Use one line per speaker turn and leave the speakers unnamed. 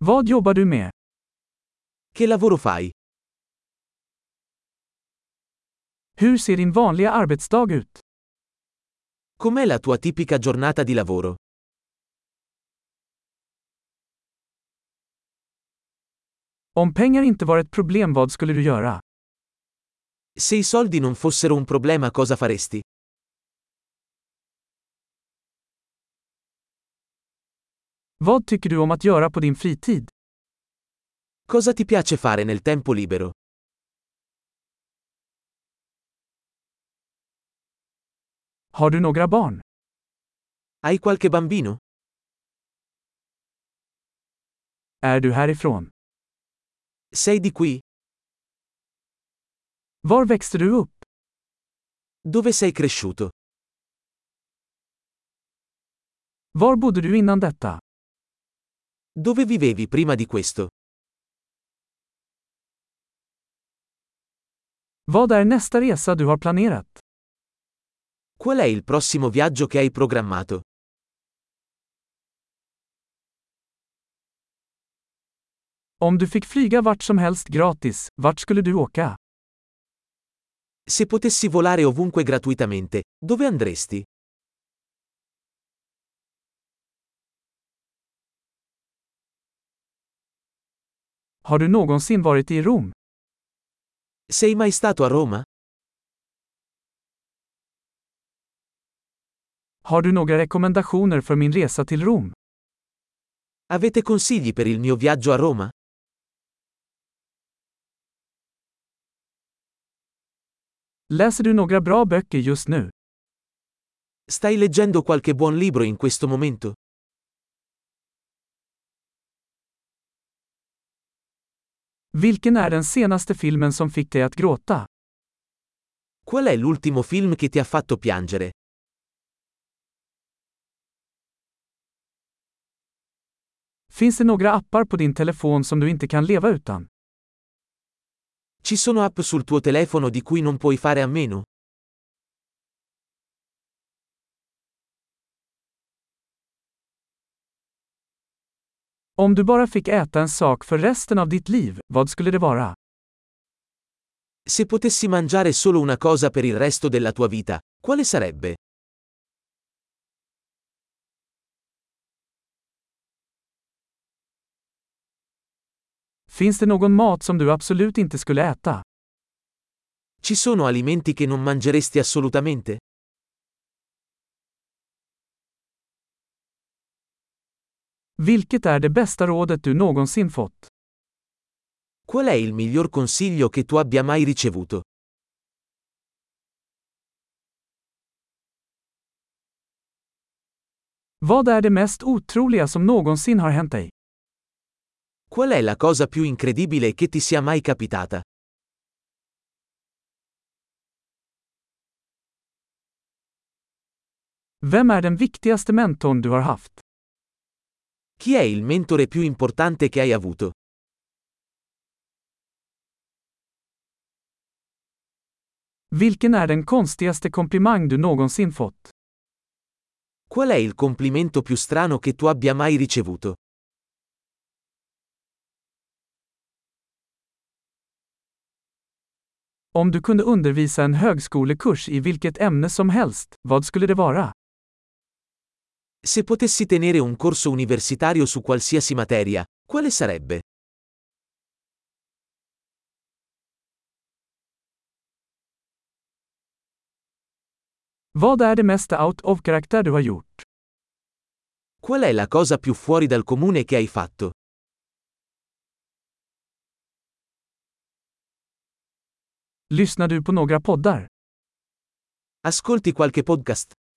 Vad jobbar du med?
Che lavoro fai?
Hur ser din vanliga arbetsdag ut?
Com'è la tua tipica giornata di lavoro?
Om pengar inte var ett problem vad skulle du göra?
Se i soldi non fossero un problema cosa faresti?
Vad tycker du om att göra på din fritid?
Cosa ti piace fare nel tempo libero?
Har du några barn?
Hai qualche bambino?
Är du härifrån?
Sei di qui?
Var växte du upp?
Dove sei cresciuto?
Var bodde du innan detta?
Dove vivevi prima di questo?
Vad är nästa resa du har planerat?
Qual è il prossimo viaggio che hai programmato?
Om du fick flyga vart som helst gratis, vart skulle du åka?
Se potessi volare ovunque gratuitamente, dove andresti?
Har du någonsin varit i Rom?
Sei mai stato a Roma?
Har du några rekommendationer för min resa till Rom?
Avete consigli per il mio viaggio a Roma?
Läser du några bra böcker just nu?
Stai leggendo qualche buon libro in questo momento?
Vilken är den senaste filmen som fick dig att gråta?
Qual è l'ultimo film che ti ha fatto piangere?
Finns det några appar på din telefon som du inte kan leva utan?
Ci sono app sul tuo telefono di cui non puoi fare a meno?
Om du bara fick äta en sak för resten av ditt liv, vad skulle det vara?
Se potessi mangiare solo una cosa per il resto della tua vita, quale sarebbe?
Finns det någon mat som du absolut inte skulle äta?
Ci sono alimenti che non mangeresti assolutamente?
Vilket är det bästa rådet du någonsin fått?
Qual è il miglior consiglio che tu abbia mai ricevuto?
Vad är det mest otroliga som någonsin har hänt dig?
Qual è la cosa più incredibile che ti sia mai capitata?
Vem är den viktigaste mentorn du har haft?
Chi è il mentore più importante che hai avuto?
Vilken är den konstigaste komplimang du någonsin fått?
Qual è il complimento più strano che tu abbia mai ricevuto?
Om du kunde undervisa en högskolekurs i vilket ämne som helst, vad skulle det vara?
Se potessi tenere un corso universitario su qualsiasi materia, quale sarebbe?
Vad är det mesta out of karaktär du har gjort?
Qual è la cosa più fuori dal comune che hai fatto?
Lyssnar du på några poddar?
Ascolti qualche podcast?